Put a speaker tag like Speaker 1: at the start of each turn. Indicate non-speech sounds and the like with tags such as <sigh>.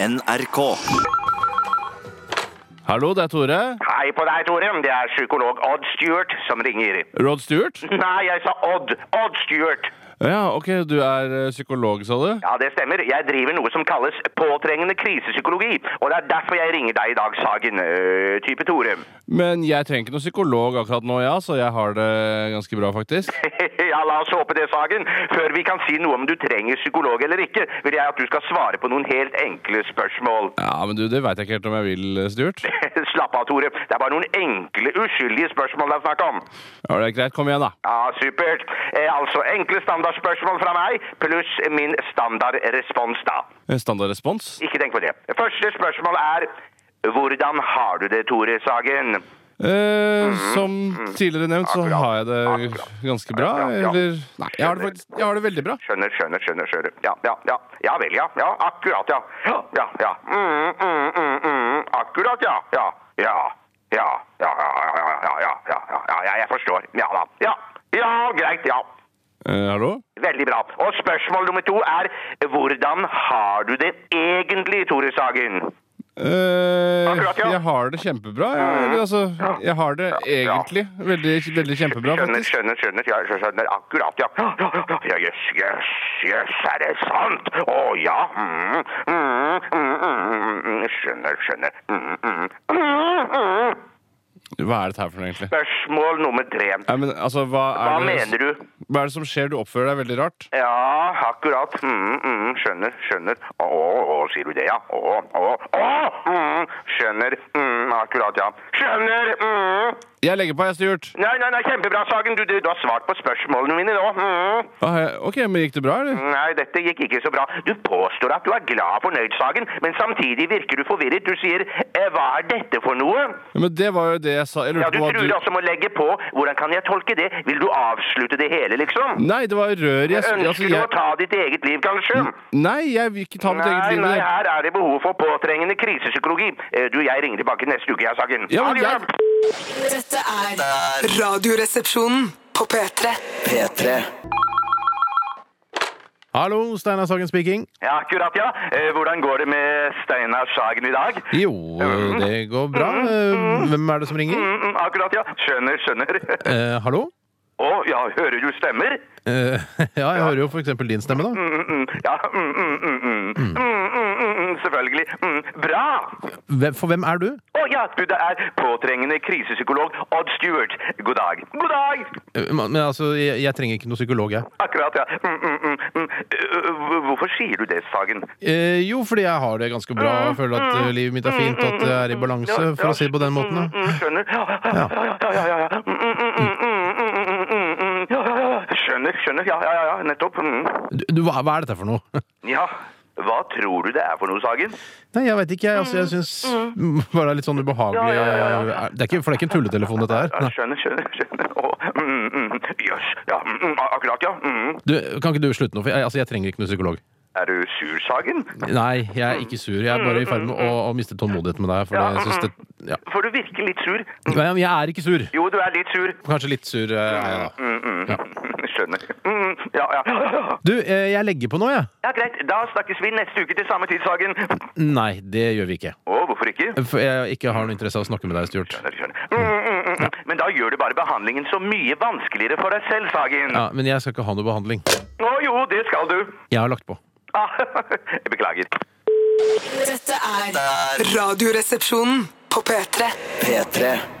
Speaker 1: NRK.
Speaker 2: Hallo, det er Tore.
Speaker 3: Hei på deg, Tore. Det er psykolog Odd Stewart som ringer.
Speaker 2: Rod Stewart.
Speaker 3: Nei, jeg sa Odd. Odd Stewart.
Speaker 2: Ja, ok, du er eh, psykolog, sa du?
Speaker 3: Ja, det stemmer. Jeg driver noe som kalles påtrengende krisepsykologi. Og det er derfor jeg ringer deg i dag, Sagen. Øh, type Tore.
Speaker 2: Men jeg trenger ikke noen psykolog akkurat nå, ja, så jeg har det ganske bra, faktisk.
Speaker 3: <laughs> ja, la oss håpe det, Sagen. Før vi kan si noe om du trenger psykolog eller ikke, vil jeg at du skal svare på noen helt enkle spørsmål. <laughs>
Speaker 2: Ja, men du, det veit jeg ikke helt om jeg vil, eh, Stewart.
Speaker 3: Slapp av, Tore. Det er bare noen enkle, uskyldige spørsmål det er snakk om.
Speaker 2: Ja, det er greit, kom igjen, da.
Speaker 3: Ja, supert. Eh, altså, enkle standardspørsmål fra meg, pluss min standardrespons, da.
Speaker 2: Standardrespons.
Speaker 3: Ikke tenk på det. Første spørsmål er hvordan har du det, Tore Sagen?
Speaker 2: Eh, som tidligere nevnt, så
Speaker 3: Akkurat.
Speaker 2: har jeg det
Speaker 3: Akkurat.
Speaker 2: ganske bra.
Speaker 3: Akkurat, ja.
Speaker 2: Eller Nei, jeg har det, faktisk, jeg har det veldig bra.
Speaker 3: Skjønner, skjønner, skjønner. skjønner. Ja, ja, ja. ja vel, ja. ja. Akkurat, ja. Ja, ja. ja. Mm, mm, mm, mm. Akkurat, ja. Ja, ja. Ja, ja, ja, ja, ja, ja, ja, ja, ja, ja, ja, jeg forstår. Ja da. Ja, ja, greit, ja.
Speaker 2: Eh, hallo?
Speaker 3: Veldig bra. Og spørsmål nummer to er hvordan har du det egentlig, Tore Sagen?
Speaker 2: Eh,
Speaker 3: Akkurat, ja.
Speaker 2: Jeg har det kjempebra. Jeg, eller, altså, jeg har det egentlig veldig, veldig kjempebra,
Speaker 3: Skjønner,
Speaker 2: faktisk.
Speaker 3: skjønner, skjønner. Ja, jeg skjønner akkurat, ja. Ja, ja, ja, ja, jøss, jøss, jøss, er det sant? Å ja. Mm, mm, mm, mm, mm, skjønner, skjønner. Mm, mm, mm, mm.
Speaker 2: Hva er dette her for noe, egentlig?
Speaker 3: Spørsmål nummer tre.
Speaker 2: Nei, men, altså, hva er
Speaker 3: Hva
Speaker 2: det,
Speaker 3: mener du?
Speaker 2: Hva er det som skjer? Du oppfører deg veldig rart.
Speaker 3: Ja, akkurat. Mm, mm, skjønner, skjønner. Å, å, å, sier du det, ja? Å, å, å! Mm, skjønner. Mm, akkurat, ja. Skjønner! Mm.
Speaker 2: Jeg legger på, jeg, Stewart.
Speaker 3: Nei, nei, nei, kjempebra, Sagen. Du, du, du har svart på spørsmålene mine nå. Mm.
Speaker 2: Ah, ja, ok, men gikk det bra, eller?
Speaker 3: Nei, dette gikk ikke så bra. Du påstår at du er glad og fornøyd, Sagen, men samtidig virker du forvirret. Du sier eh, 'hva er dette for noe'?
Speaker 2: Ja, Men det var jo det jeg sa. Jeg
Speaker 3: Ja,
Speaker 2: lurte på
Speaker 3: Du
Speaker 2: Mm, hva
Speaker 3: truer
Speaker 2: du
Speaker 3: også med å legge på. Hvordan kan jeg tolke det? Vil du avslutte det hele, liksom?
Speaker 2: Nei, det var rør jeg
Speaker 3: Ønsker
Speaker 2: altså,
Speaker 3: du
Speaker 2: jeg...
Speaker 3: å ta ditt eget liv, kanskje?
Speaker 2: Nei, jeg vil ikke ta mitt eget
Speaker 3: Nei,
Speaker 2: liv.
Speaker 3: nei,
Speaker 2: jeg-
Speaker 3: her er det behov for påtrengende krisepsykologi. Eh, Du, jeg ringer tilbake neste uke, jeg, Sagen.
Speaker 2: Ja, men
Speaker 3: Ha det bra.
Speaker 2: jeg-
Speaker 4: Dette er Radioresepsjonen på P3.
Speaker 1: P3.
Speaker 5: Hallo, Steinar Sagen speaking.
Speaker 3: ja, akkurat, ja. Eh, Hvordan går det med Steinar Sagen i dag?
Speaker 5: Jo, det går bra. Eh, Hvem er det som ringer?
Speaker 3: Mm, mm, akkurat, ja. Skjønner, skjønner. <laughs>
Speaker 5: Eh, hallo?
Speaker 3: Å, ja, hører du stemmer?
Speaker 5: Eh, <laughs> ja, jeg hører jo for eksempel din stemme, da.
Speaker 3: Mm, mm, ja, mm, mm, mm, mm. Mm, mm, mm, mm, selvfølgelig. Mm, bra!
Speaker 5: Hvem, for hvem er du?
Speaker 3: Å ja, du, det er påtrengende krisepsykolog Odd Stewart. God dag. God dag!
Speaker 5: Eh, Men men altså, jeg, jeg trenger ikke noen psykolog, jeg.
Speaker 3: Akkurat, ja. Mm, mm, mm, mm. Øh, øh, Hvorfor sier du det, Sagen?
Speaker 5: Eh, jo, fordi jeg har det ganske bra og føler at eh, livet mitt er fint, at det er i balanse, for å si det på den måten.
Speaker 3: Mm,
Speaker 5: da.
Speaker 3: mm, skjønner. Ja, ja, ja, ja, ja, ja, ja. Mm, mm, mm, mm, mm, mm, mm, mm, mm. Ja, ja, ja. Skjønner, skjønner. Ja, ja, ja, ja, nettopp. Mm.
Speaker 5: Du, du, hva, hva er dette for noe?
Speaker 3: Ja, hva tror du det er for noe, Sagen?
Speaker 5: Nei, jeg veit ikke. Jeg, altså, jeg syns <laughs> bare det er litt sånn ubehagelig
Speaker 3: Mm, Ja, ja, ja,
Speaker 5: eh, Det er ikke, For det er ikke en tulletelefon, dette her.
Speaker 3: Ja,
Speaker 5: Nei.
Speaker 3: skjønner, skjønner, skjønner. Å, mm, mm. Jøss. Ja, mm, mm, akkurat, ja. Mm.
Speaker 5: Du, kan ikke du slutte nå? For jeg, altså, jeg trenger ikke noen psykolog.
Speaker 3: Er du sur, Sagen?
Speaker 5: Nei, jeg er ikke sur. Jeg er bare i ferd med å, å miste tålmodigheten med deg. For
Speaker 3: Mm, Ja,
Speaker 5: jeg, synes det, ja.
Speaker 3: For du virker litt sur.
Speaker 5: Nei, men jeg er ikke sur.
Speaker 3: Jo, du er litt sur.
Speaker 5: Kanskje litt sur. eh, er jeg da.
Speaker 3: Mm, mm.
Speaker 5: Ja.
Speaker 3: <laughs> Skjønner. Mm, ja, ja.
Speaker 5: Du, eh, jeg legger på nå, jeg.
Speaker 3: ja, greit. Da snakkes vi neste uke til samme tid, Sagen. Å,
Speaker 5: Nei, det gjør vi ikke.
Speaker 3: hvorfor ikke?
Speaker 5: For jeg ikke har noe interesse av å snakke med deg, Stuart.
Speaker 3: Skjønner, skjønner. Mm, mm, mm. Men da gjør du bare behandlingen så mye vanskeligere for deg selv, Sagen.
Speaker 5: Ja, men jeg skal ikke ha noe behandling.
Speaker 3: Å jo, det skal du.
Speaker 5: Jeg har lagt på.
Speaker 3: Ah, <laughs> jeg beklager.
Speaker 4: Dette er Radioresepsjonen på P3.
Speaker 1: P3.